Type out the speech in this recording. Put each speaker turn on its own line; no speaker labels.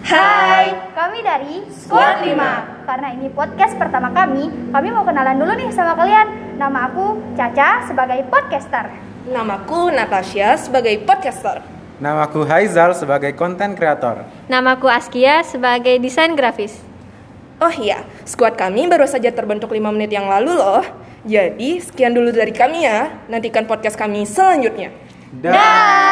Hai,
kami dari
Squad Lima.
Karena ini podcast pertama kami, kami mau kenalan dulu nih sama kalian. Nama aku Caca sebagai podcaster.
Namaku Natasha sebagai podcaster.
Namaku Haizal sebagai konten kreator.
Namaku Askia sebagai desain grafis.
Oh iya, skuad kami baru saja terbentuk 5 menit yang lalu loh. Jadi, sekian dulu dari kami ya. Nantikan podcast kami selanjutnya.
Dah.